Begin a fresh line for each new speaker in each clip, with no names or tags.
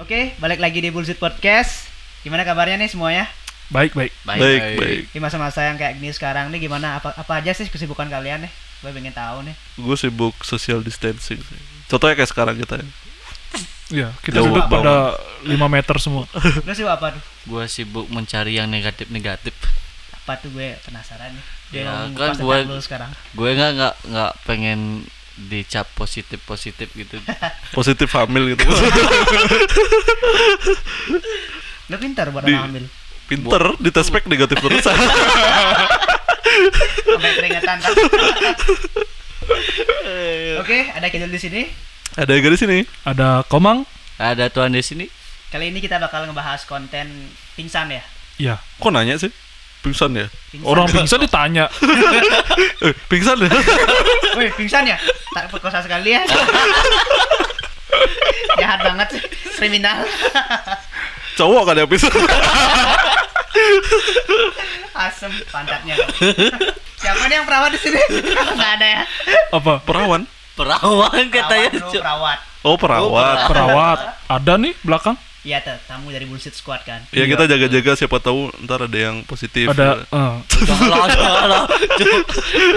Oke, balik lagi di Bullshit Podcast. Gimana kabarnya nih semuanya?
Baik, baik.
Baik, baik.
Di masa-masa yang kayak gini sekarang nih gimana apa apa aja sih kesibukan kalian nih? Gue pengen tahu nih.
Gue sibuk social distancing. sih. Contohnya kayak sekarang kita. ya.
Iya, kita
Jauh
duduk
banget.
pada 5 meter semua.
Lu sih apa tuh?
Gua sibuk mencari yang negatif-negatif.
Apa tuh gue penasaran nih. Dia
Ya,
ngomong
kan
pas
gua-
dulu sekarang.
Gue nggak nggak nggak pengen dicap positif-positif gitu.
Positif hamil gitu.
Lu pintar buat
Di-
orang hamil.
Pinter, di tes pack negatif terus.
Sampai keringetan kan. Oke, ada Kidul di sini.
Ada yang di sini.
Ada Komang?
Ada tuan di sini.
Kali ini kita bakal ngebahas konten pingsan ya.
Iya.
Kok nanya sih? Pingsan ya?
Pingsan.
Orang pingsan ditanya.
Eh, pingsan ya?
Woi, pingsan ya? Tak perkosa sekali ya. Jahat banget sih, kriminal.
Cowok kan yang pingsan.
Asem pantatnya. Siapa nih yang perawat di sini? Enggak ada ya.
Apa?
Perawan.
Perawan katanya.
Perawat, lu
ya, Cuk.
perawat.
Oh, perawat.
Perawat. Ada nih belakang.
Iya, tuh, tamu dari bullshit squad kan.
Ya kita jaga-jaga siapa tahu ntar ada yang
Iya.
positif. ya.
Ada eh.
Jangan, jangan, Cuk.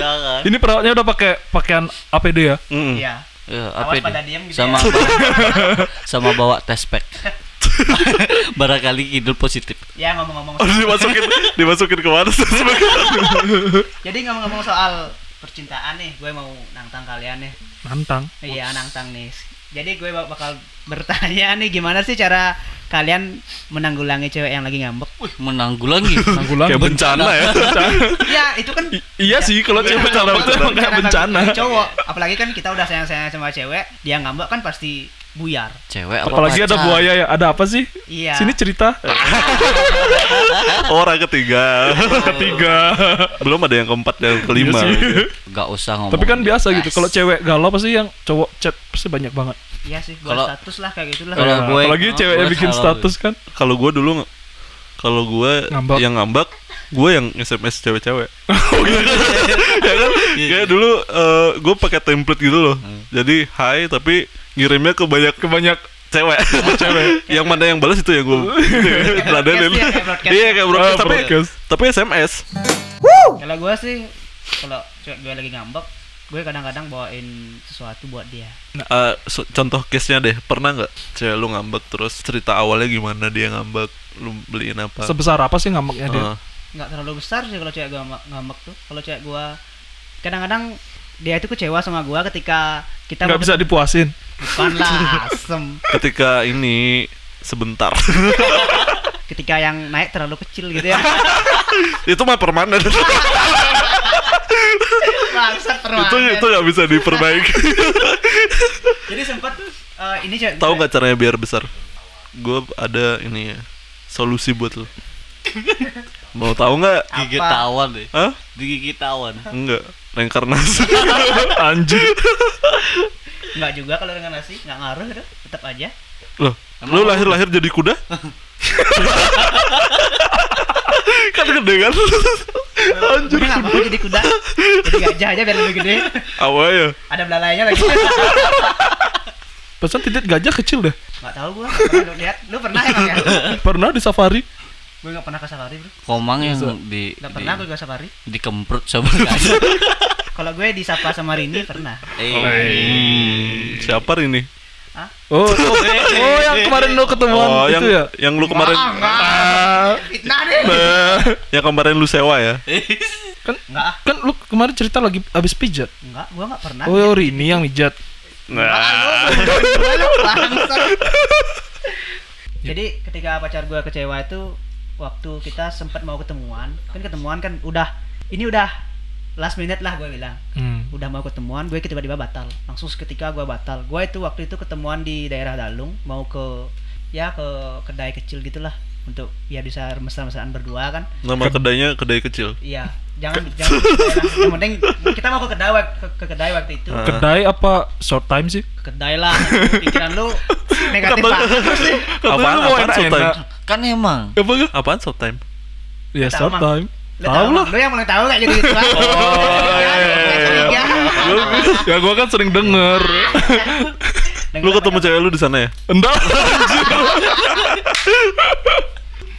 Jangan.
Ini perawatnya udah pakai pakaian APD ya.
Mm.
Iya.
Ya,
Awas
apa ini?
pada diem gitu
sama
ya.
sama bawa test pack. Barangkali kidul positif.
Ya ngomong-ngomong.
Harus Oh, dimasukin, dimasukin ke mana?
Jadi ngomong-ngomong soal percintaan nih, gue mau nantang kalian nih.
Nantang.
Iya, nantang nih. Jadi gue bak- bakal bertanya nih gimana sih cara kalian menanggulangi cewek yang lagi ngambek?
Wih, menanggulangi.
Nanggulang.
kayak bencana ya.
Ya, itu kan
iya sih kalau dia bencana itu emang kayak bencana.
bagi cowok apalagi kan kita udah sayang sayang sama cewek dia ngambek kan pasti buyar
Cewek apa
Apalagi ada
pacar?
buaya ya. Ada apa sih?
iya
Sini cerita.
Orang ketiga.
Ketiga.
Belum ada yang keempat dan kelima.
Iya sih.
Gak usah ngomong.
Tapi kan biasa gitu.
Guys.
Kalau cewek galau pasti yang cowok chat pasti banyak banget.
iya sih buat
Kalau-
status lah kayak gitulah
Kalau
Ya,
gue-
Apalagi
kalau
cewek yang
gue
bikin
galau.
status kan.
Kalau gue dulu nge- kalau gue
Ngambek.
yang ngambek, gue yang SMS cewek-cewek. ya kan? Kayak dulu gue pakai template gitu loh. Jadi hai tapi ngirimnya ke banyak ke banyak cewek. yang mana yang balas itu ya yang gue
broadcast ya,
ladenin.
kayak broadcast.
Iya kayak broadcast
Ah,
tapi
broadcast.
tapi SMS.
kalau gue sih kalau cewek gue lagi ngambek gue kadang-kadang bawain sesuatu buat dia
Eh, so- contoh case-nya deh, pernah nggak cewek lu ngambek terus cerita awalnya gimana dia ngambek, lu beliin apa?
Sebesar apa sih ngambeknya dia?
Eh,
nggak terlalu besar sih kalau cewek gue ngambek tuh kalau cewek gue kadang-kadang dia itu kecewa sama gue ketika kita
Nggak bisa dipuasin.
bukan lah asem
ketika ini sebentar.
ketika yang naik terlalu kecil gitu ya
itu mah permanen.
Bangsat,
itu
permanen.
itu nggak bisa diperbaiki
jadi sempet eh, ini cewek
tahu
gue-
nggak caranya biar besar gue ada ini ya, solusi buat lo mau tahu nggak
digigit
Apa?
tawan deh.
Hah?
Digigit tawan.
enggak reinkarnasi
Anjir.
Enggak juga kalau dengan nasi, enggak ngaruh itu, tetap aja.
loh lo lahir lahir jadi kuda kan gede kan
Anjir, enggak mau jadi kuda. Jadi gajah aja biar lebih gede.
awalnya
Ada belalainya lagi.
Pesan titik gajah kecil deh.
Enggak tahu gua, nggak pernah lu lihat. Lu pernah emang ya?
Pernah di safari.
Gua enggak pernah ke safari, Bro.
Komang yang di,
Enggak
di
pernah gua ke safari.
dikemprut sama gajah.
Kalau gue disapa sama Rini pernah.
Eh,
Hmm. siapa ini
Oh, oh, oh, yang kemarin lo ketemuan
oh
itu
yang
ya.
yang lu kemarin
Fitnah deh.
Nah, yang kemarin lu sewa ya
Kan
Enggak ah,
kan lu kemarin cerita lagi habis pijat.
enggak, gua enggak pernah.
Oh, Rini yang mijat.
nah
Gua lu bangsat. Jadi ketika pacar gua kecewa itu waktu kita sempat mau ketemuan, kan ketemuan kan udah ini udah last minute lah gue bilang.
Hmm.
udah mau ketemuan gue tiba-tiba batal langsung seketika gue batal gue itu waktu itu ketemuan di daerah Dalung mau ke ya ke kedai kecil gitulah untuk ya bisa mesra-mesraan berdua kan
nama kedainya kedai kecil
iya jangan jangan ke daerah. yang penting kita mau ke kedai wak- ke, ke kedai waktu itu
Ah.
Kedai apa short time sih?
ke kedai lah pikiran lu negatif
Kata-
banget sih
Katanya
apaan
lu mau
apaan short time
enak-enak.
kan emang
Apa enggak?
apaan short time
Ya
Tahu,
short
Mang.
time.
lu
Tahu lah.
Mang. lu yang paling tahu kayak Iya, gitu gitu
iya. Oh, iya, iya, iya. Ya gua kan sering denger.
Neng
Lu
Rang
ketemu
banyak-
cewek lu di sana ya?
Enggak.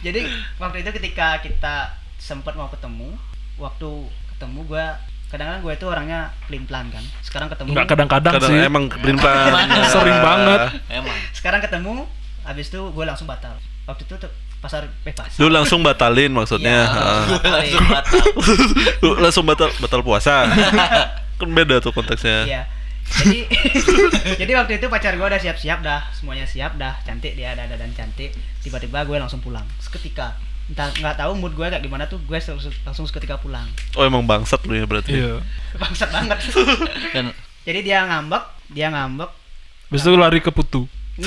Jadi waktu itu ketika kita sempat mau ketemu, waktu ketemu gue kadang-kadang gue itu orangnya pelin-pelan kan. Sekarang ketemu.
Enggak kadang-kadang
Kadang
sih.
emang pelimpan.
Sering banget.
Emang.
Sekarang ketemu, habis itu gue langsung batal. Waktu itu tuh pasar bebas.
Lu langsung batalin maksudnya.
Iya.
Heeh.
Gua langsung batal.
Lu langsung batal batal puasa. kan beda tuh konteksnya.
Iya. Jadi jadi waktu itu pacar gue udah siap-siap dah, semuanya siap dah, cantik dia ada dan cantik. Tiba-tiba gue langsung pulang. Seketika entah nggak tahu mood gue kayak gimana tuh gue langsung, langsung seketika pulang
Oh emang bangsat lu ya berarti.
Iya.
bangsat banget
Dan
jadi dia ngambek dia ngambek
Habis itu lari ke Putu.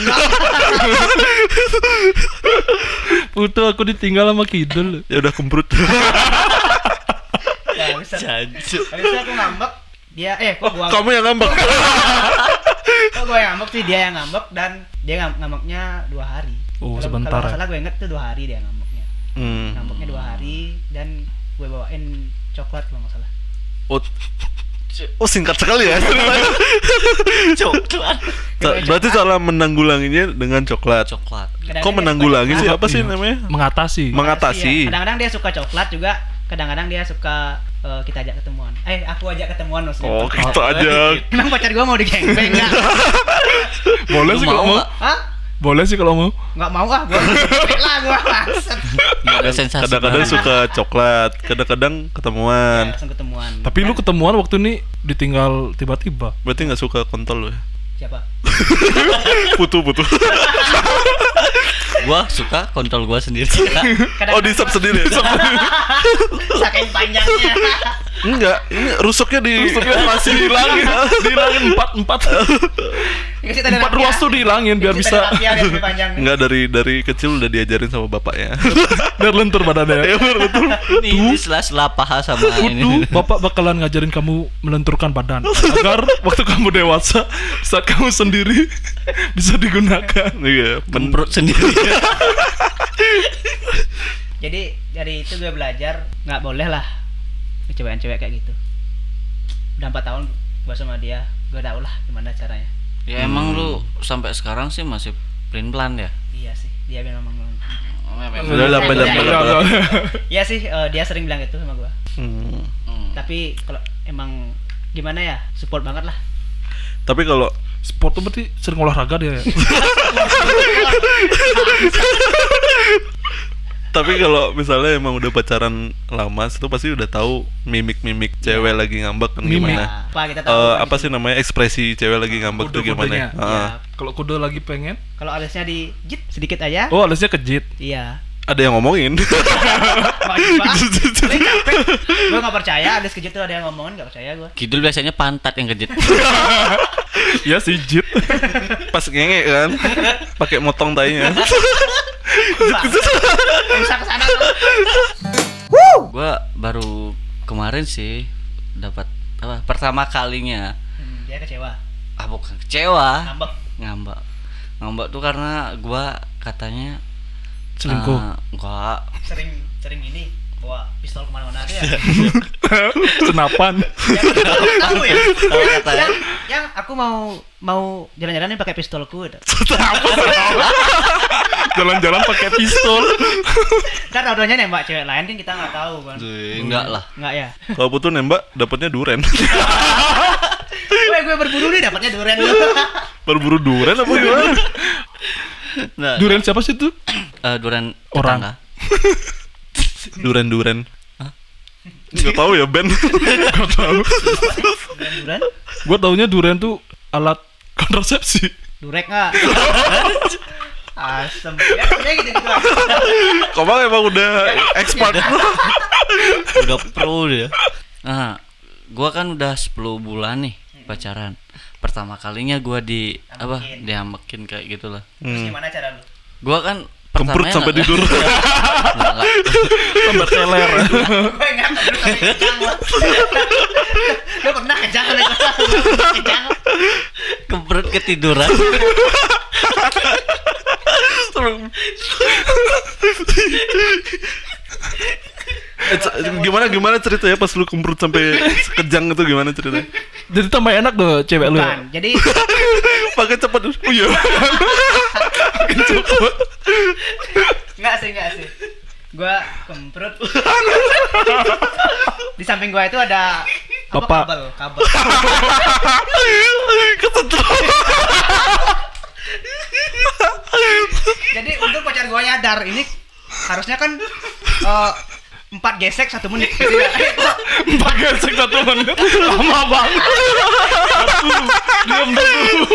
Putu aku ditinggal sama Kidul.
Ya udah kembrut.
ya, bisa
jancuk.
habis itu aku ngambek dia eh kok gua
Kamu yang ngambek.
kok gua yang ngambek sih dia yang ngambek dan dia ngam- ngambeknya dua hari
Oh,
Kalau-
sebentar
kalau nggak
ya.
salah gue inget tuh dua hari dia ngambeknya
Hmm.
ngambeknya dua hari dan gue bawain coklat kalau nggak salah
Oh, oh singkat sekali ya.
Iya.
ceritanya.
Coklat.
Sa- berarti salah menanggulanginya dengan coklat.
Coklat.
Kok menanggulangi sih apa sih
Iya.
namanya?
Mengatasi.
Iya,
Mengatasi.
kadang-kadang dia suka coklat juga kadang-kadang dia suka eh, kita ajak ketemuan eh aku ajak ketemuan maksudnya
Oh,
Emang-
Iya.
gitu aja.
emang pacar gue mau digengbeng nggak
Boleh
Lu
sih kalau
mau
mau.
nggak?
Hah?
Boleh sih kalau mau.
nggak mau ah gue lah gue maksud
Nggak ada sensasi.
Kadang-kadang
banget.
suka coklat, kadang-kadang
Iya.
ketemuan.
langsung ketemuan
Tapi lu ketemuan waktu ini ditinggal tiba-tiba.
Berarti nggak suka kontol lu ya?
siapa
Putu putu.
gua suka kontrol gua sendiri.
Kadang-
Oh di sub sendiri. ya? Sub.
saking panjangnya
Enggak, ini rusuknya di masih
dihilangin, dihilangin empat empat
Dikasih tanda rapi
empat ruas
ya.
tuh dihilangin biar
Dikasih tanda
bisa
rapi ya, biar lebih panjang
Enggak dari dari kecil udah diajarin sama bapaknya.
biar lentur badannya.
Ya betul.
Ini sela-sela paha sama
Lu
ini.
bapak bakalan ngajarin kamu melenturkan badan Iya, agar waktu kamu dewasa saat kamu sendiri bisa digunakan.
Iya, men-
Perut sendiri.
jadi dari itu gue belajar nggak boleh lah ngecewain cewek kayak gitu udah empat tahun gue sama dia gue tau lah gimana caranya
Ya emang lu sampai sekarang sih masih pelin-pelan ya?
iya sih dia memang memang-
Udah lah, pada pada.
iya sih eh, dia sering bilang gitu sama gue
Hmm.
Hmm.
tapi kalau emang gimana ya support banget lah
Tapi kalau
Sport tuh berarti sering olahraga dia ya.
tapi kalau misalnya emang udah pacaran lama, itu pasti udah tahu mimik-mimik cewek lagi ngambek kan
Mimik.
gimana.
Nah, apa kita tahu
Eh,
kan
apa
gitu.
sih namanya ekspresi cewek lagi ngambek tuh gimana? Ah.
Kode-kodenya.
Heeh.
Ya,
Iya. Kalau kuda lagi pengen,
kalau alisnya di jit sedikit aja
oh alisnya kejit.
iya
Ada yang ngomongin.
gue nggak percaya alis kejut tuh ada yang ngomongin nggak percaya gue
Kidul biasanya pantat yang kejit.
ya sih jit.
Pas ngenge kan, pakai motong tainya.
bisa kesana tuh.
gua baru kemarin sih dapat apa pertama kalinya
Hmm, dia kecewa
ah bukan kecewa
ngambek
ngambak ngambak tuh karena gua katanya
Selingkuh.
ah, enggak
sering sering ini bawa pistol kemana-mana aja ya.
Senapan.
Yang-
Oh,
tahu
iya.
ya
Tahu katanya.
yang, yang aku mau mau jalan-jalan nih pakai pistolku
Jalan-jalan pakai pistol.
kan rodonya nembak cewek lain kan kita nggak tahu kan
enggak lah
nggak ya
Kalau putu nembak dapatnya duren.
gue gue berburu nih dapatnya durian lu
Berburu duren apa gimana?
nah,
Durian siapa sih tuh?
eh, duran
Orang.
tetangga.
Duren duren. Gak tahu ya Ben.
Gak tau.
durian durian
Gue taunya durian tuh alat kontrasepsi.
durek nggak asem ya pokoknya gitu gitu lah
Komang emang udah expert.
udah pro dia nah gua kan udah 10 bulan nih pacaran pertama kalinya gua di apa
Ambekin.
diamekin kayak gitulah
terus
Hmm.
gimana cara lu
gua kan
Kemprut
pertamanya
sampai
nggak-
tidur.
Nggak, nggak.
Tambah teler.
gue nggak tahu lu sampai kejang lu lu pernah kejang lu kejang
kemprut ketiduran
Eh, c- gimana gimana ceritanya pas lu kemprut sampai kejang itu gimana ceritanya?
Jadi tambah enak tuh cewek lu. ya?
bukan jadi
pakai cepat oh iya
Enggak sih, enggak sih. Gua kemprut. Di samping gua itu ada apa,
Bapak.
kabel, kabel. Jadi untuk pacar gua nyadar ini harusnya kan eh, empat gesek satu menit gitu ya.
Pakai gesek satu menit lama banget. Satu, diam dulu.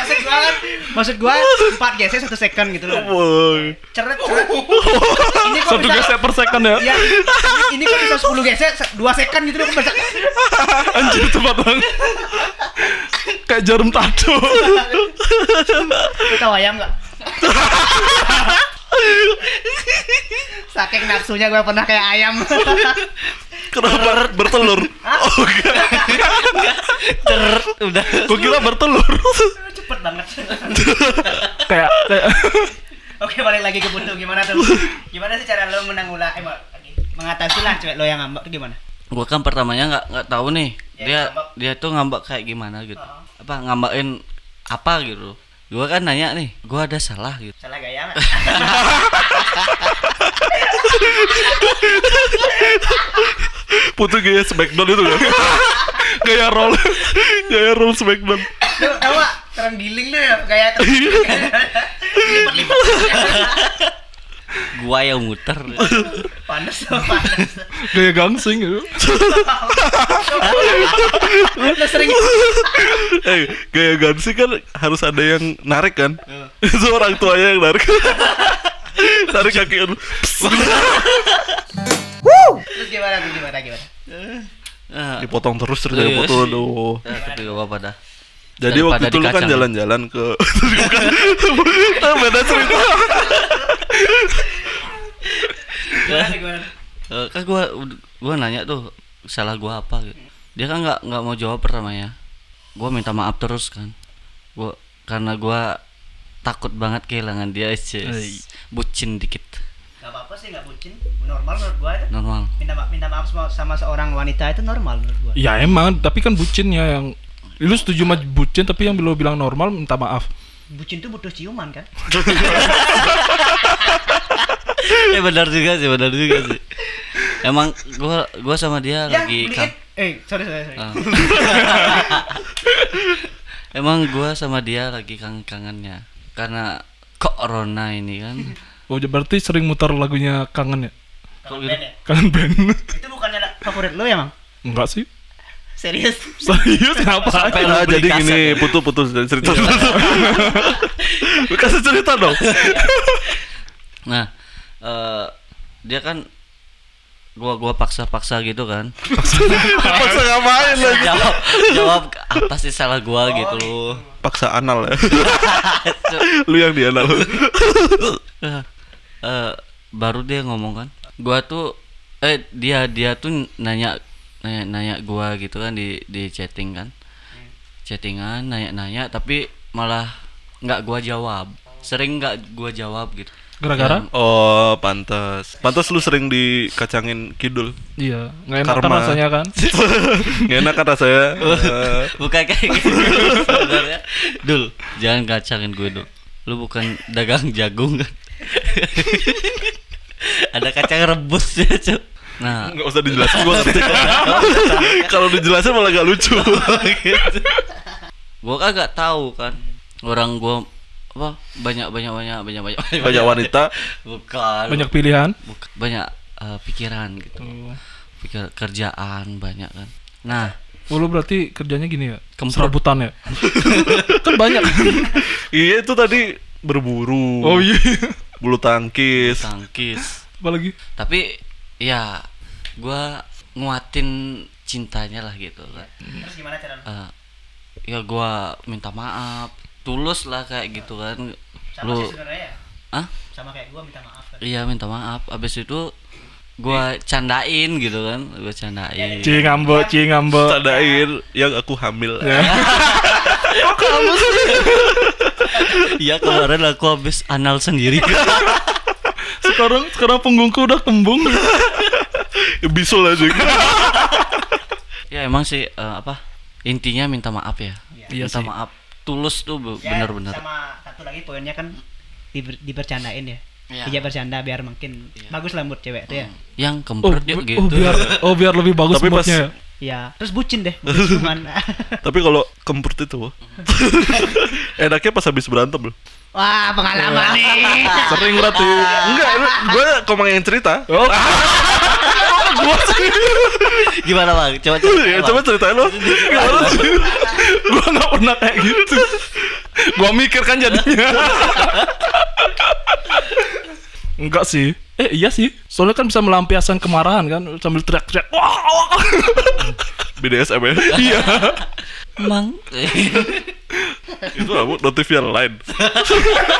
maksud gua kan maksud gua empat gesek satu second gitu loh
Woi.
ceret ceret ini kok
Satu
bisa-
gesek per second ya.
ya ini- ini kok bisa 10 gesek se- dua second gitu loh kok bisa
Anjir cepat banget. Kayak jarum tato.
Lu tahu ayam nggak? Saking nafsunya gue pernah kayak ayam.
kenapa bertelur oh enggak
Ter, udah.
Gue kira bertelur.
Cepet banget.
Kayak kayak
Oke balik lagi ke buntu gimana tuh? Gimana sih cara lo menanggulah eh, ma- lagi. mengatasi lah cewek lo yang ngambek tuh gimana?
Gua kan pertamanya nggak nggak tahu nih.
Ya,
Dia
ngambek.
dia tuh ngambek kayak gimana gitu.
Heeh.
Apa ngambakin apa gitu. Gua kan nanya nih, gua ada salah gitu.
Salah gaya nggak?
putu gaya smackdown itu kan gaya roll gaya roll smackdown
Lo tau gak? Terang giling lo ya gaya terang giling. Lipat-lipat.
Gua yang muter.
Panas lo panas.
kayak gangsing gitu.
Lo sering
eh gaya gansi kan harus ada yang narik kan itu orang tuanya yang narik tarik kaki aduh.
terus gimana tuh gimana gimana?
Nah,
dipotong terus terus dari
Iya
foto
sih.
aduh
ya, tapi gak apa-apa dah.
jadi
Daripada
waktu itu lu kan
dikacang. ya?
jalan-jalan ke bukan Eh, beda cerita
Gimana gimana?
Eh, kan gua gua nanya tuh salah gua apa gitu. Dia kan nggak nggak mau jawab pertamanya. Gua minta maaf terus kan. Gua karena gua takut banget kehilangan dia sih.
Ei.
Bucin dikit.
Gak apa-apa sih gak bucin. Normal menurut gue itu.
Normal.
minta ma- minta maaf sama, sama seorang wanita itu normal menurut gua.
Ya emang, tapi kan bucinnya yang lu setuju sama bucin tapi yang lu bilang normal minta maaf.
Bucin tuh butuh ciuman kan?
eh benar juga sih, benar juga sih. Emang gua gua sama dia lagi
beliin-
kam-
Eh, sorry sorry sorry.
Ah. Emang gua sama dia lagi kangen-kangennya karena corona ini kan.
Oh, j- berarti sering mutar lagunya kangen ya?
Kalau
Kok gitu?
band ya?
Kangen band.
Itu bukannya la- favorit lo ya, Mang?
Enggak sih.
Serius?
Serius kenapa?
Sampai lu
Nah,
beli
jadi
kaset
gini
ya.
putu putu cerita kasih cerita dong
Nah, eh dia kan gua gua paksa-paksa gitu kan.
paksa ngapain lagi
jawab jawab apa sih salah gua gitu.
paksa anal ya lu yang di anal
Eh eh, baru dia ngomong kan. Gua tuh eh dia dia tuh nanya nanya, nanya gua gitu kan di di chatting kan. Chattingan nanya-nanya tapi malah nggak gua jawab. Sering nggak gua jawab gitu.
Gara-gara?
oh pantas pantas lu sering dikacangin kidul
Iya, nggak enak kan
Karma.
rasanya kan?
nggak enak kan kata saya Eh,
bukan kayak gitu sebenarnya. Dul, jangan kacangin gue dul. Lu bukan dagang jagung kan? Ada kacang rebus ya, Cuk. Nah,
nggak usah dijelasin gua ngerti kalau dijelasin malah gak lucu
gua kagak tahu kan. Orang gua apa banyak banyak banyak banyak banyak
banyak wanita
bukan
Banyak pilihan.
Bukan, banyak eh, pikiran gitu
Hmm.
pikir kerjaan banyak kan nah
Oh, lu berarti kerjanya gini ya?
Kemprut.
Serabutan ya? kan banyak.
iya itu tadi berburu
oh iya.
bulu tangkis
tangkis
Apalagi?
tapi ya gua nguatin cintanya lah gitu kan
Terus gimana cara lo?
Eh, ya gua minta maaf tulus lah kayak gitu kan
Sama
lu
sih sebenarnya ya.
ah
Sama kayak gua minta maaf kan.
iya minta maaf abis itu gua candain gitu kan gua
Iya.
candain
Cing ngambek, cing ngambek.
tadain yang aku hamil
iya kemarin aku habis anal sendiri
Sekarang sekarang punggungku udah kembung.
bisul aja
ya emang sih eh, apa intinya minta maaf ya
Iya
minta
sih.
maaf tulus tuh bu-
Ya,
bener-bener
sama satu lagi poinnya kan diber- dibercandain ya
Iya. Hmm.
Dia bercanda biar makin bagus lah mood cewek tuh ya
yang
Oh,
kemper dia
bi- oh,
gitu
biar oh biar lebih bagus
Tapi pas-
moodnya ya.
Iya, terus bucin deh bucin cuman.
Tapi kalau kempurt itu wah. enaknya pas habis berantem loh.
Wah pengalaman nih
Sering berarti. Enggak, gue komang yang cerita.
Oh,
gimana bang coba coba,
Ya, coba ceritain lo. Gimana sih?
gua nggak pernah kayak gitu.
Gua mikir kan jadinya.
Enggak sih. Eh iya sih. Soalnya kan bisa melampiaskan kemarahan kan sambil teriak-teriak. Wah, wah.
BDSM ya. Iya.
mang
Itu aku notif yang lain.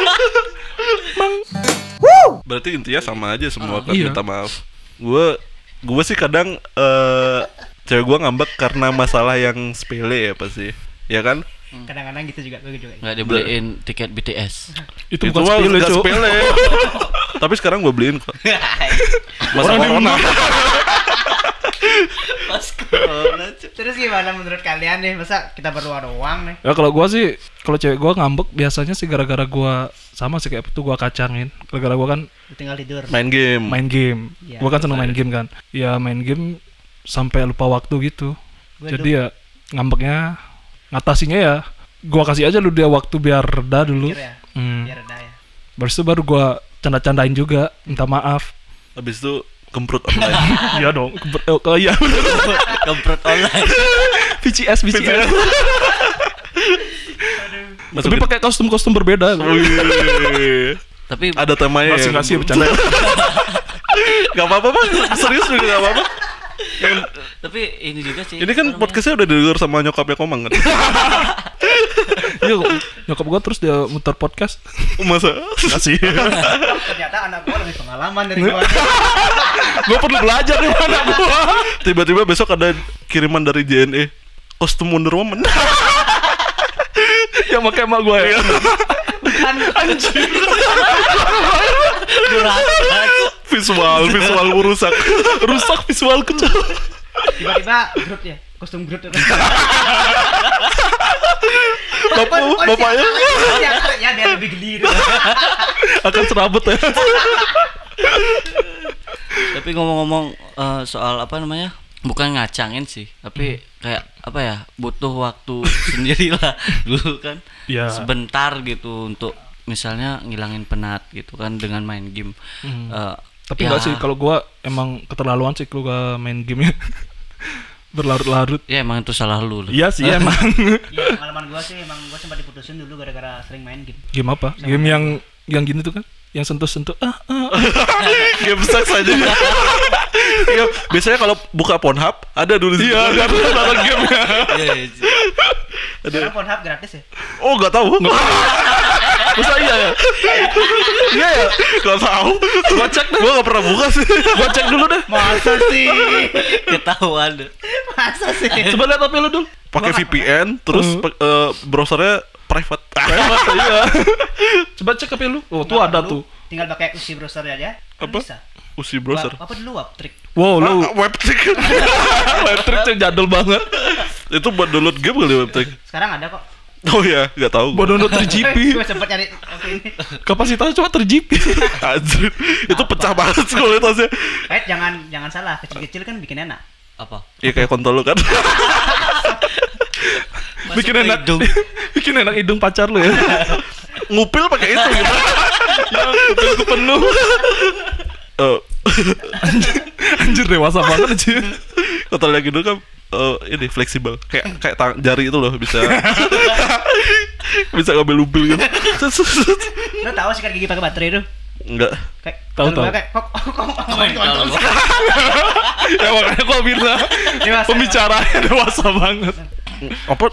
Berarti intinya sama aja semua kan
iya.
minta maaf. Gue gue sih kadang eh cewek gue ngambek karena masalah yang sepele ya pasti. Ya kan?
Hmm.
Kadang-kadang gitu juga gue juga
nggak dibeliin tiket BTS
Itu,
Itu,
bukan
mah
sepele,
nggak
Cuk.
sepele. Tapi sekarang gue beliin kok. Masa
Orang
corona.
pas corona
Terus gimana menurut kalian nih? Masa kita berdua doang nih?
Ya kalau gua sih kalau cewek gua ngambek biasanya sih gara-gara gua sama sih kayak itu gua kacangin. Gara-gara gua kan
Tinggal tidur
Main game.
main game.
Iya,
gua kan seneng main game kan. Ya main game sampai lupa waktu gitu.
Gua
Jadi ya ngambeknya ngatasinya ya gua kasih aja lu dia waktu biar reda dulu.
Pikir ya
Hmm.
Biar reda ya
Baru itu baru gua canda-candain juga, minta maaf.
Habis itu kemprut online.
Iya dong. keber- eh, oh, iya.
kemprut online
VCS VCS. Tapi
Masukin-
pakai kostum-kostum berbeda.
Wih.
tapi
Ada temanya
Masih
yang-
ngasih bercanda.
Gak apa-apa bang, serius juga gak apa-apa
tapi ini juga sih
Ini kan
orangnya.
podcastnya udah didengar sama nyokapnya Komang kan
Iya, nyokap gua terus dia muter podcast.
Masa? Kasih
Oh, Ternyata anak gue lebih pengalaman dari gue
gua perlu belajar di mana gua.
Tiba-tiba besok ada kiriman dari JNE Kostum Wonder Woman
Yang pakai emak gua ya.
Bukan
Durhaka.
Visual, visual rusak
Rusak visualku. Cuk.
Tiba-tiba grup ya Kostum grup tuh
Bapak, bapaknya
Ya dia lebih geli gitu
Akan serabut ya.
tapi ngomong-ngomong eh, soal apa namanya bukan ngacangin sih tapi kayak apa ya butuh waktu sendirilah dulu kan
Iya.
sebentar gitu untuk misalnya ngilangin penat gitu kan dengan main game Eh,
Tapi
ya,
enggak sih kalau gua emang keterlaluan sih kalau gua main game berlarut-larut.
ya emang itu salah lu lah.
Iya sih emang.
Ya pengalaman gue sih emang gue sempat diputusin dulu gara-gara sering main game
Game apa? Game yang yang gini tuh kan? Yang sentuh-sentuh. Ah, ah.
Game sex aja Ya, Biasanya kalau buka Pornhub Ada dulu Iya, ada dulu game
Iya, iya, iya.
Sekarang Pornhub gratis ya?
Oh gak tau Masa iya ya? Iya ya? Gak tau Gua cek deh Gua gak pernah buka sih Gua cek dulu deh
Masa sih?
ketahuan
Masa sih?
Coba lihat HP lu dulu.
pakai VPN terus pa- eh, browsernya private
iya. Coba cek HP lu. Oh, tuh
Nggak
ada
perlu.
tuh.
Tinggal pakai UC browser aja Kan
Apa?
Bisa
usi browser
Browser Apa dulu wap trik?
Wow, lu
Ah, webtrick
elektrik tuh jadul banget.
itu buat download game kali webtrick
Sekarang ada kok
oh ya nggak tahu
Buat
gua.
download 3GP.
Gue sempat nyari waktu ini
Kapasitasnya cuma 3GP.
Anjir, itu pecah banget sih kualitasnya
Eh jangan jangan salah kecil-kecil kan bikin enak.
apa
ya kayak kontol lu kan
Masuk
Bikin
ke
enak.
hidung.
Bikin enak hidung pacar lu ya.
ngupil pakai itu gitu. gimana
Aku Ya, penuh.
Eh,
Anjir dewasa banget anjir.
kontol yang gitu kan eh, ini fleksibel kayak kayak tang- jari itu loh bisa bisa ngambil upil gitu
Lo tahu sikat gigi pakai baterai tuh?
enggak
Kayak
Tahu,
kalau
tahu.
Kayak kok kok kok kok
Main kalau
kok-
gua-
ya makanya gua bilang
Dewasa.
pembicaranya dewasa banget.
apa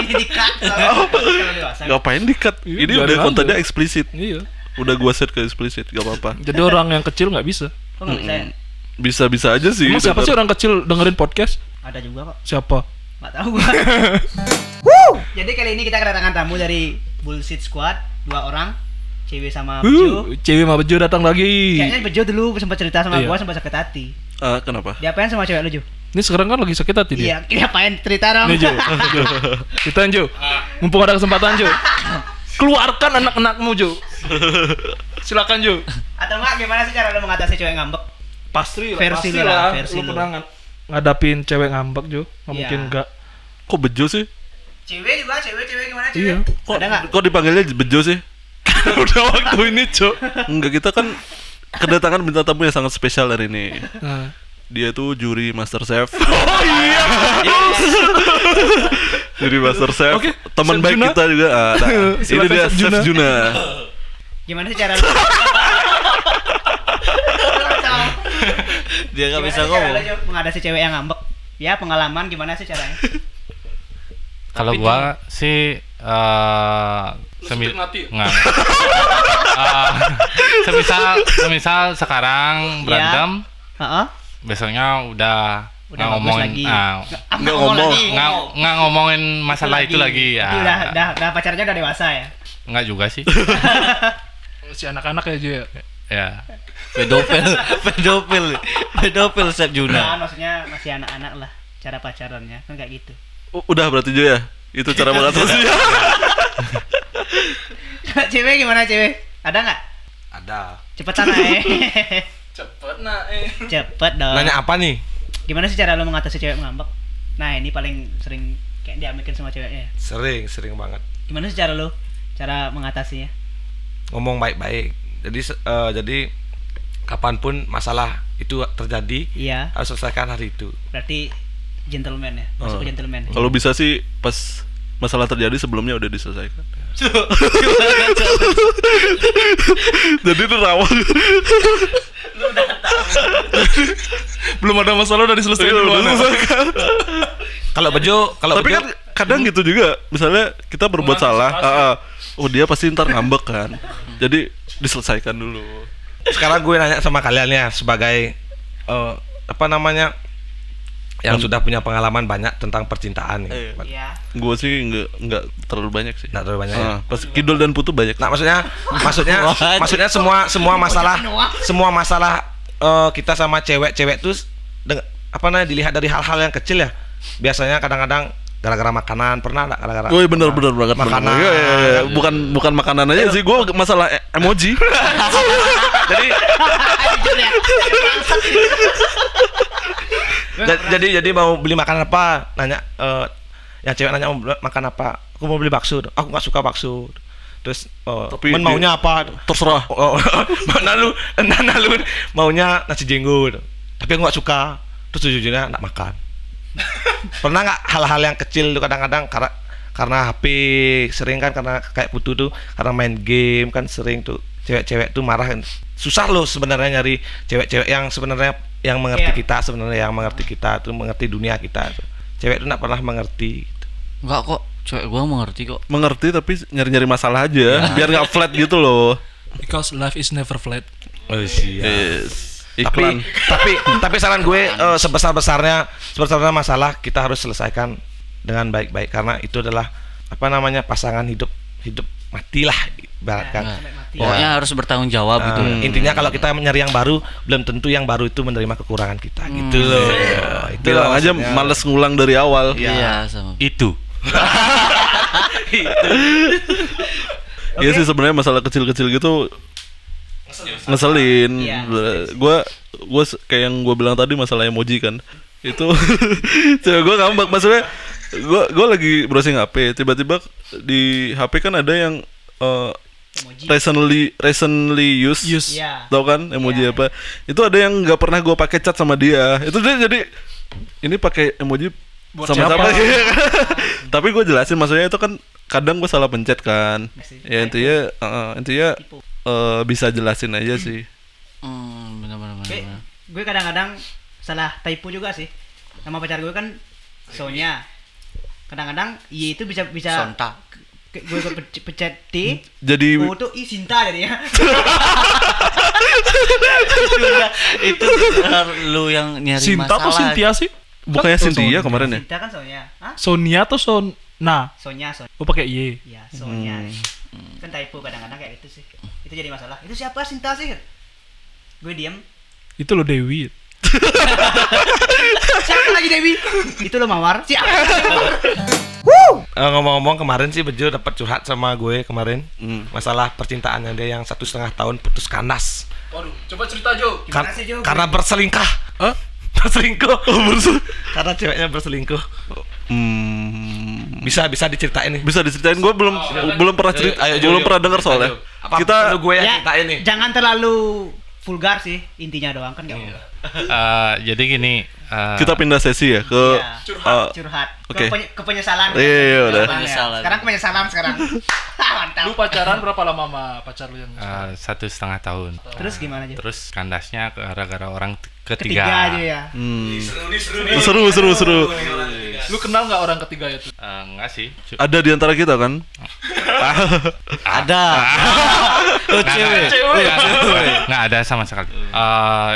ini dikat. Kalau dewasa.
ngapain dikat
Iya,
ini
jangan
udah
ambil.
kontennya eksplisit
Iya.
udah gua set ke eksplisit gak apa-apa
Jadi orang yang kecil nggak bisa.
Kok nggak bisa ya?
bisa bisa aja sih
Emang siapa
Dengar.
sih orang kecil dengerin podcast?
Ada juga kok.
Siapa?
Enggak tahu gua. Jadi kali ini kita kedatangan tamu dari Bullshit Squad, dua orang, cewek sama Bejo.
Uh, cewek sama Bejo datang lagi.
Kayaknya Bejo dulu sempat cerita sama
Iya.
gua sempat sakit hati.
Eh, kenapa
Diapain sama cewek lu, Jo?
Ini sekarang kan lagi sakit hati dia.
Iya, kita pengen cerita dong.
Nih Iya, Jo, Jo. kita Jo, mumpung ada kesempatan Jo, keluarkan anak-anakmu Jo. Silakan Jo.
Atau enggak gimana sih cara lo mengatasi cewek ngambek?
Pasti lah,
Versi
pasti
lu lah,
lah.
versi
Lu
lu.
pernah ngan- ngadapin cewek ngambek Jo? Nggak
Iya.
mungkin enggak.
Kok bejo sih?
Cewek juga, cewek, cewek gimana
Iya.
cewek?
Kok,
Ada enggak?
kok dipanggilnya bejo sih?
Udah waktu ini Jo.
Enggak, kita kan kedatangan bintang tamu yang sangat spesial hari ini.
Nah.
Dia tuh juri Master Chef.
Oh iya.
juri Master Chef.
Oke,
Teman
Chef
baik
Juna.
kita juga Ah, ada. Ini
Silakan,
dia
Chef Juna.
Chef Juna.
Gimana sih cara lo?
Dia nggak bisa
ngomong.
ngomong.
Mengatasi cewek yang ngambek. Ya, pengalaman gimana sih caranya?
Kalau
Tapi
gua sih eh semi
suntik mati ya?
nggak. Eh, semisal semisal
Iya.
sekarang berantem,
Heeh.
besoknya udah
Udah
nggak
bagus
ngomongin
lagi.
ah,
Apa
Nggak
ngomong
ngomong.
lagi?
nggak nggak ngomongin masalah itu lagi ya.
Itu udah, udah, udah pacarnya udah dewasa ya.
Nggak juga sih.
Si anak-anak ya Jo ya.
ya.
pedofil pedofil pedofil
Nah,
Sep Juna
maksudnya masih anak-anak lah cara pacarannya kan kayak gitu.
U- Udah berarti Jo ya? Itu cara mengatasi.
cewek gimana cewek? Ada nggak?
Ada.
Cepetan aja.
Cepet nah eh.
Cepet dong.
Nanya apa nih?
Gimana sih cara lo mengatasi cewek ngambek? Nah, ini paling sering kayak diamikin sama ceweknya.
Sering, sering banget.
Gimana sih cara lo? Cara mengatasinya?
Ngomong baik-baik. Jadi se- eh, jadi kapanpun masalah itu terjadi
Iya,
harus selesaikan hari itu.
berarti gentleman ya. Masuk ke gentleman. ya?
Kalau bisa sih pas masalah terjadi sebelumnya udah diselesaikan. Jadi itu rawan.
Belum ada masalah udah diselesaikan
Iya, udah
duluan. ya.
diselesaikan.
Kalau bejo, kalau
Tapi kan
bejo,
kadang
Hmm.
gitu juga. Misalnya kita berbuat salah, ah, ah. oh dia pasti ntar ngambek kan. Jadi diselesaikan dulu.
sekarang gue nanya sama kalian ya sebagai eh, apa namanya yang sudah punya pengalaman banyak tentang percintaan ya.
Iya.
Gue sih nggak nggak terlalu banyak sih.
Nggak terlalu banyak ya?
Ah, pas Kidul dan Putu banyak.
Nah, maksudnya maksudnya maksudnya semua semua masalah semua masalah eh, kita sama cewek-cewek tuh deng- apa namanya dilihat dari hal-hal yang kecil ya. Biasanya kadang-kadang gara-gara makanan pernah nggak gara-gara
Gue bener bener banget bener.
makanan.
Iya, iya, iya. Bukan bukan makanan aja sih. Gue masalah e- emoji.
Jadi
ya.
Iya,
Ja- jadi jadi mau beli makanan apa nanya eh, yang cewek nanya mau beli- makan apa aku mau beli bakso aku nggak suka bakso terus eh,
Tapi
"Men
dia-
maunya apa
Terserah.
oh, mana lu mana lu maunya nasi jenggot tapi aku nggak suka terus jujurnya nggak makan pernah nggak hal-hal yang kecil tuh kadang-kadang karena karena HP sering kan karena kayak putu tuh karena main game kan sering tuh cewek-cewek tuh marah kan. susah loh sebenarnya nyari cewek-cewek yang sebenarnya yang mengerti
Iya.
kita sebenarnya yang mengerti kita tuh mengerti dunia kita tuh. cewek tuh nggak pernah mengerti gitu.
Enggak kok cewek gua mengerti kok
Mengerti tapi nyari-nyari masalah
Iya.
aja. Biar nggak flat gitu loh.
Because life is never flat.
Yes.
Oh, iya. tapi
Iklan.
tapi tapi saran gue eh, sebesar besarnya sebesar besarnya masalah kita harus selesaikan dengan baik baik karena itu adalah apa namanya pasangan hidup hidup matilah
Iya,
ibaratkan
Sampai mati.
pokoknya harus bertanggung jawab
Nah,
gitu
Hmm.
intinya kalau kita mencari yang baru belum tentu yang baru itu menerima kekurangan kita
Hmm.
gitu loh
Iya.
itu
Bilang
loh
aja
maksudnya.
males ngulang dari awal.
iya sama
Itu. Iya sih sebenarnya masalah kecil-kecil gitu ngeselin.
Iya.
Gua gua se- kayak yang gua bilang tadi masalah emoji kan. Itu cewek gua ngambek maksudnya gua gua lagi browsing HP, tiba-tiba di HP kan ada yang eh,
Emoji.
recently recently used
Use.
Iya.
tau kan
Iya.
emoji apa itu ada yang nggak pernah gue pakai chat sama dia itu dia jadi ini pakai emoji
Buat
sama-sama
siapa?
Iya kan? tapi gue jelasin maksudnya itu kan kadang gue salah pencet kan
Masih.
ya intinya eh, intinya eh, bisa jelasin aja sih
hmm, bener bener bener,
Gue,
bener.
gue kadang-kadang salah typo juga sih. Nama pacar gue kan Sonya. Kadang-kadang Y itu bisa bisa
sontak
ke- gue ke- pe- pencet T,
jadi
O tuh I Sinta jadinya. Iya.
itu lu yang nyari
Sinta atau
masalah
Cynthia sih?
bukannya
Oh,
Cynthia
Sonia.
kemarin ya
Sinta kan Sonya. Hah?
Sonia atau Son? Nah,
Sonya, Sonya.
gue pakai Y.
Iya, Sonya.
Hmm.
Kan typo kadang-kadang kayak gitu sih. Itu jadi masalah. Itu siapa Sinta sih? Gue diem.
Itu lo Dewi.
Siapa lagi Dewi? Itu lo mawar. Siapa?
Eh, ngomong-ngomong kemarin sih Bejo dapat curhat sama gue kemarin
Hmm.
masalah percintaannya dia yang satu setengah tahun putus kanas
Waduh, coba cerita Jo.
Gimana
Kar-
sih, Jo?
karena berselingkah
Hah? Oh,
berselingkuh karena ceweknya berselingkuh
Hmm,
bisa bisa diceritain nih
bisa diceritain gue belum belum pernah cerita
ya. Ayo, Jo,
belum
Jo.
pernah dengar soalnya
apa
kita
kita gue yang
Ya,
ceritain nih
jangan terlalu vulgar sih intinya doang kan
Iya.
nggak apa-apa.
Eh, jadi gini eh,
kita pindah sesi ya ke
Iya.
eh,
curhat ke,
Oke.
penye- ke penyesalan
Iya, iya, iya, udah.
Penyesalan.
sekarang ke penyesalan sekarang Ah, mantap
Lu pacaran berapa lama sama pacar lu yang?
Ah.
eh, satu setengah tahun
terus gimana aja
terus kandasnya gara-gara orang t-
ketiga
ketiga,
aja ya
hmm. seru seru seru
Lu kenal nggak orang ketiga itu?
Eh, enggak sih Cu-
ada di antara kita kan
Ada.
Ah.
Oh,
Nah,
cewek.
nggak- nggak- nggak ada sama sekali Eh,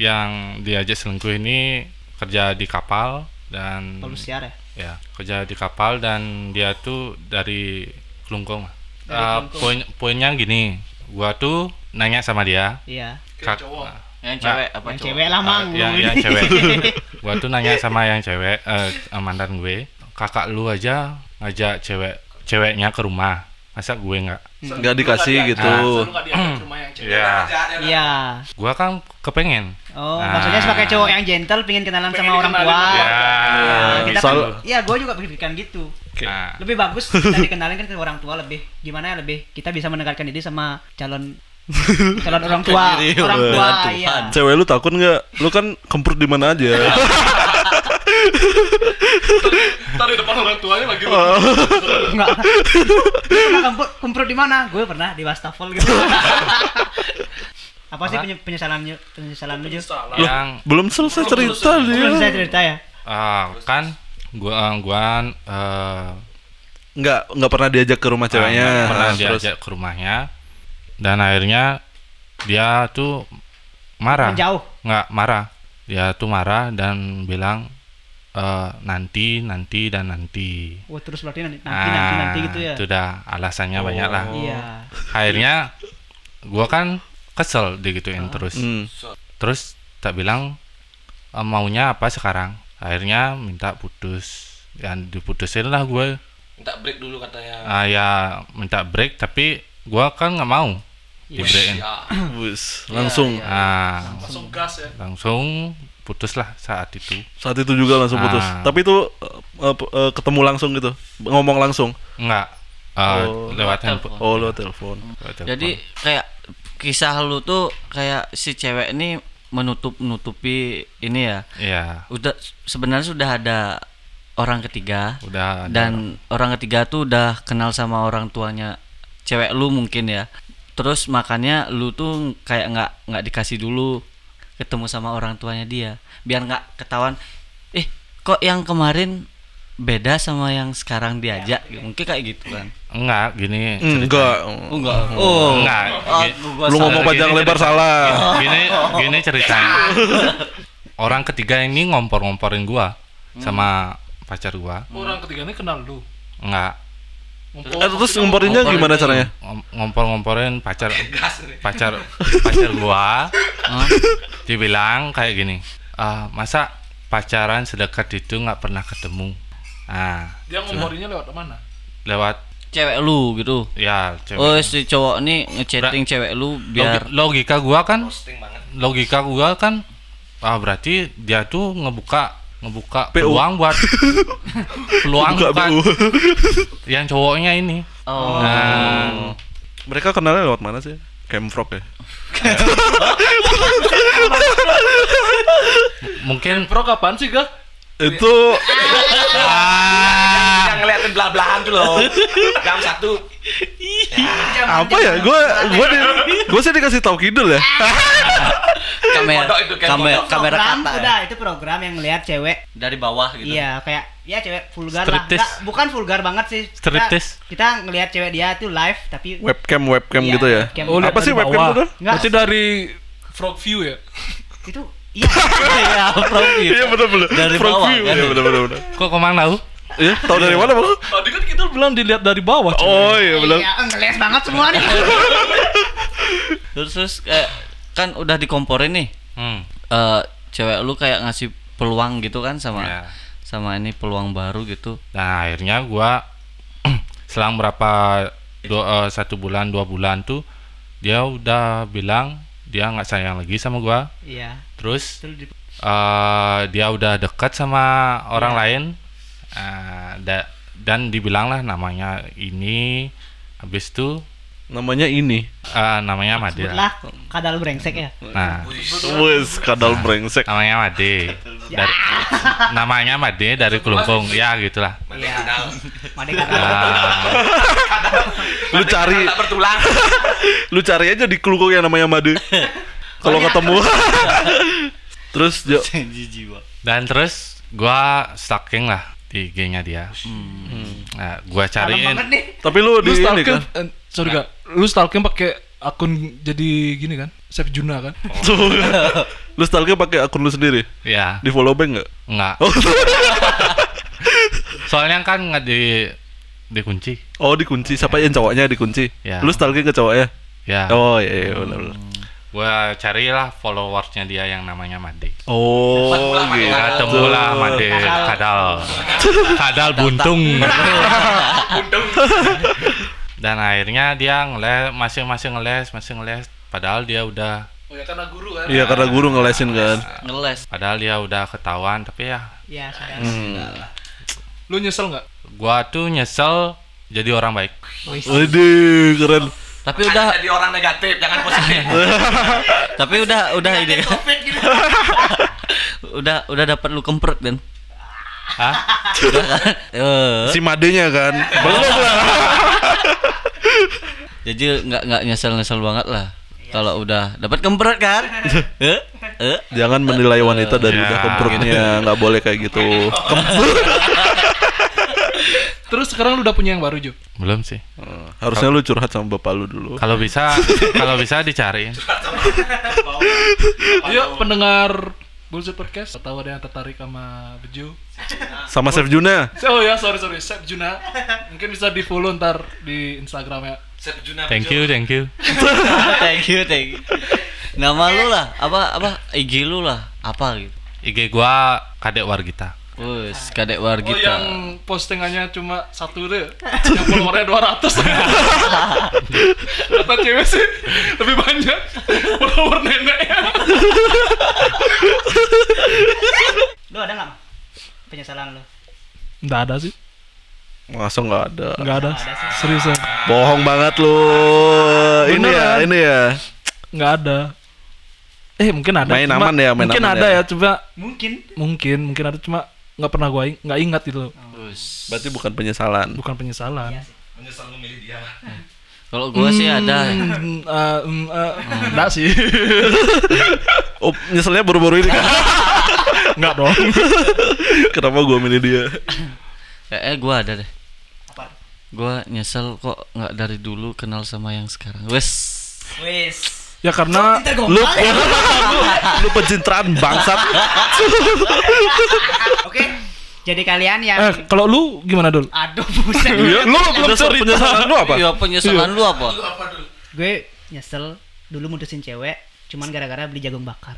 yang diajak selingkuh ini kerja di kapal dan
Palu siar ya
ya kerja di kapal dan dia tuh dari Kelungkung
Dari
Eh,
Kelungkung.
poin poinnya gini gua tuh nanya sama dia
iya
kak-
Yang cewek apa
Nah, yang
cowok?
cewek lah mang
Iya,
Eh, yang, yang cewek gua tuh nanya sama yang cewek eh, mantan gue kakak lu aja ngajak cewek ceweknya ke rumah masa gue nggak
nggak dikasih gitu
Lu nggak diajak ke rumah yang cewek.
Iya.
iya
gua kan kepengen
oh
Nah.
maksudnya sebagai cowok yang gentle pengen kenalan sama orang tua
dikenalin sama
Nah,
ya
kita kan,
Soal-
iya gue juga pikiran gitu
Nah,
lebih bagus kita dikenalin kan ke orang tua lebih gimana ya lebih kita bisa mendekatkan diri sama calon calon orang tua
Diri
orang tua
dengan Tuhan.
Ah.
iya
cewek lu takut nggak lu kan kempur di mana aja
Ntar di depan orang tuanya lagi.
Enggak. Pernah kemput, kemprut di mana? Gue pernah di wastafel gitu. Apa sih penye- penyesalannya? Penyesalan lu, Jus?
Salah.
yang
belum selesai cerita
Belum saya
dia
cerita ya.
eh, kan gua gua eh,
nggak nggak pernah diajak ke rumah ceweknya
Ah, pernah
Iya, terus
diajak ke rumahnya dan akhirnya dia tuh
Ah.
marah
Menjauh.
nggak marah dia tuh marah dan bilang eh, nanti nanti dan nanti Ah,
Oh, terus berarti nanti nanti
Ah,
nanti, nanti gitu ya.
itu dah alasannya banyak lah
Oh.
Iya.
akhirnya gua kan kesel digituin terus
hmm.
terus tak bilang "Eh, maunya apa sekarang akhirnya minta putus dan diputusin lah gue
minta break dulu katanya
ah ya minta break tapi gua kan nggak mau
Iya,
di breakin
Wis, langsung
Ah,
Langsung gas ya.
langsung putuslah saat itu
saat itu juga langsung putus
Ah.
tapi itu eh, eh, ketemu langsung gitu ngomong langsung
nggak eh,
Oh.
lewat handphone
oh lewat telepon
Lewat telepon.
Jadi kayak kisah lu tuh kayak si cewek ini menutup nutupi ini ya.
iya
Udah sebenarnya sudah ada orang ketiga
udah ada
dan orang ketiga tuh udah kenal sama orang tuanya cewek lu mungkin ya. Terus makanya lu tuh kayak nggak nggak dikasih dulu ketemu sama orang tuanya dia biar nggak ketahuan eh kok yang kemarin beda sama yang sekarang diajak
Ya,
mungkin kayak gitu kan
enggak gini
enggak
oh, enggak oh
enggak
Oh, gua
lu
salah.
ngomong panjang
Gini
lebar
cerita-
salah
gini gini ceritanya orang ketiga ini ngompor-ngomporin gua sama pacar gua
Oh, Orang ketiga ini kenal lu.
enggak
Eh, terus ngomporinnya
Ngomporin-
gimana caranya
ngom- ngompor-ngomporin pacar pacar pacar gua
Hah?
dibilang kayak gini "Ah, masa pacaran sedekat itu nggak pernah ketemu nah
Dia ngomporinya lewat mana?
lewat
cewek lu gitu
ya cewek.
oh si cowok nih ngechatting cewek lu biar
Logi- logika gua kan logika gua kan ah berarti dia tuh ngebuka ngebuka
PU.
peluang buat peluang
Buka
buat
BU.
yang cowoknya ini
oh
nah
mereka kenalnya lewat mana sih Camfrog ya
mungkin
Pro kapan sih gak?
itu
yang ngeliatin belah-belahan tuh loh jam satu
apa ya gue gue di gue sih dikasih tahu kidul ya
kamera
bodoh itu, kan,
kamera
kayak bodoh.
kamera
program
kata ya.
udah itu program yang ngelihat cewek
dari bawah gitu
iya kayak ya cewek vulgar lah
Striptease.
Nggak, bukan vulgar banget sih Kita-
Striptease.
kita, ngelihat cewek dia tuh live tapi
webcam webcam
Iya,
gitu ya
webcam.
Oh, lihat
apa sih
dari
webcam
bawah.
itu
Nggak.
Berarti dari Frog View ya?
itu iya
Iya, from you.
iya benar benar
Dari
Frog
bawah,
view.
kan?
iya benar benar
kok komang tahu
ya tahu dari mana bang
Tadi kan kita bilang dilihat dari bawah. Cuk.
oh iya benar
iya ngeles banget semua nih
terus terus kayak, kan udah eh, dikomporin nih
hmm.
Eh, cewek lu kayak ngasih peluang gitu kan sama
Iya.
sama ini peluang baru gitu
Nah akhirnya gua selang berapa dua, eh, satu bulan dua bulan tuh dia udah bilang dia nggak sayang lagi sama gua.
Iya.
Terus
Terus di-
eh, dia udah dekat sama
Iya.
orang lain Eh, da- dan dibilang lah namanya ini habis itu
Namanya ini.
eh, namanya Made.
sebutlah kadal brengsek ya.
Nah
Wes kadal brengsek.
namanya Made.
Ya.
Dari, namanya Made dari Kelungkung ya gitulah.
Iya. Made kadal.
Nah,
Lu cari
bertulang
lu cari aja di kelukung yang namanya Made. Kalau ketemu. Terus ya, Jo,
janji jiwa
Dan terus gua stalking lah di IG-nya dia. Nah, gua
Hmm. Dalam
cariin.
banget nih.
tapi
Lu
lu di ini
stalking,
kan.
eh, sorry gak, lu stalking pakai akun jadi gini kan? Chef Juna kan?
Tuh. lu stalking pakai akun lu sendiri.
Ya,
Di follow back enggak?
enggak.
Oh,
Soalnya kan nggak di dikunci.
oh dikunci. Siapa yang cowoknya dikunci?
Ya.
Lu stalking ke cowoknya?
Ya,
Oh, iya, iya benar benar.
gua carilah followersnya dia yang namanya Made.
Oh, gitu.
iya, Ketemu lah Made
Kadal.
kadal. Kadal buntung. Dan akhirnya dia ngeles, masing-masing ngeles, masing ngeles. Padahal dia udah,
Oh ya karena guru kan?
Iya, karena guru ngelesin kan.
ngeles
padahal dia udah ketahuan. Tapi ya
Iya, sudah.
Lu nyesel nggak?
gua tuh nyesel jadi orang baik.
Waduh, keren.
tapi udah
jadi orang negatif jangan positif
tapi udah udah ini udah udah dapat lu kemprek dan
Hah?
udah kan Eh,
Si Madenya kan. Belum lah.
jadi nggak nggak nyesel nyesel banget lah kalau udah dapat kemprek kan eh eh
Jangan menilai wanita dari
Ya,
udah kemprutnya, nggak boleh kayak gitu.
Terus sekarang lu udah punya yang baru Jo?
Belum sih.
Eh, Harusnya lu curhat sama bapak lu dulu.
Kalau bisa, kalau bisa dicariin.
Ayo Iya, pendengar Bullshit Podcast Atau ada yang tertarik sama Bejo
Sama Chef Juna.
Oh ya sorry sorry, Chef Juna Mungkin bisa di follow ntar di ya. Instagramnya
Thank you, thank you.
thank you thank you nama lu lah apa apa IG lu lah apa gitu
IG gua Kadek Wargita.
Wes, kadek
Oh
war kita.
yang postingannya cuma satu deh Yang followernya 200 Kata cewek sih lebih banyak Follower nenek ya
Lu ada nggak Mang? penyesalan lu?
Nggak ada sih
Masa nggak ada?
Nggak ada ya. Seriusan
Bohong banget lu. Ini ya,
Beneran.
ini ya.
Nggak ada Eh mungkin ada
Main aman ya, main
Mungkin
aman
ada
ya.
ya, coba
Mungkin
Mungkin, mungkin ada cuma nggak pernah gua ing- nggak ingat gitu loh.
Berarti bukan penyesalan.
bukan penyesalan
Kalau gua sih ada.
Hmm, eh, hmm, eh, enggak sih
Oh, nyeselnya baru-baru ini kan.
enggak dong
Kenapa gua milih dia?
Eh, eh gua ada deh.
apa?
Gua nyesel kok nggak dari dulu kenal sama yang sekarang. Wes.
Wis.
ya karena
Lu lu, lu pencitraan bangsat.
Oke. Jadi kalian yang
eh kalau lu gimana dul
aduh buset.
Iya, lu belum Iya, penyesalan lu apa?
Ya penyesalan lu apa?
Gue nyesel dulu mutusin cewek cuman gara-gara beli jagung bakar.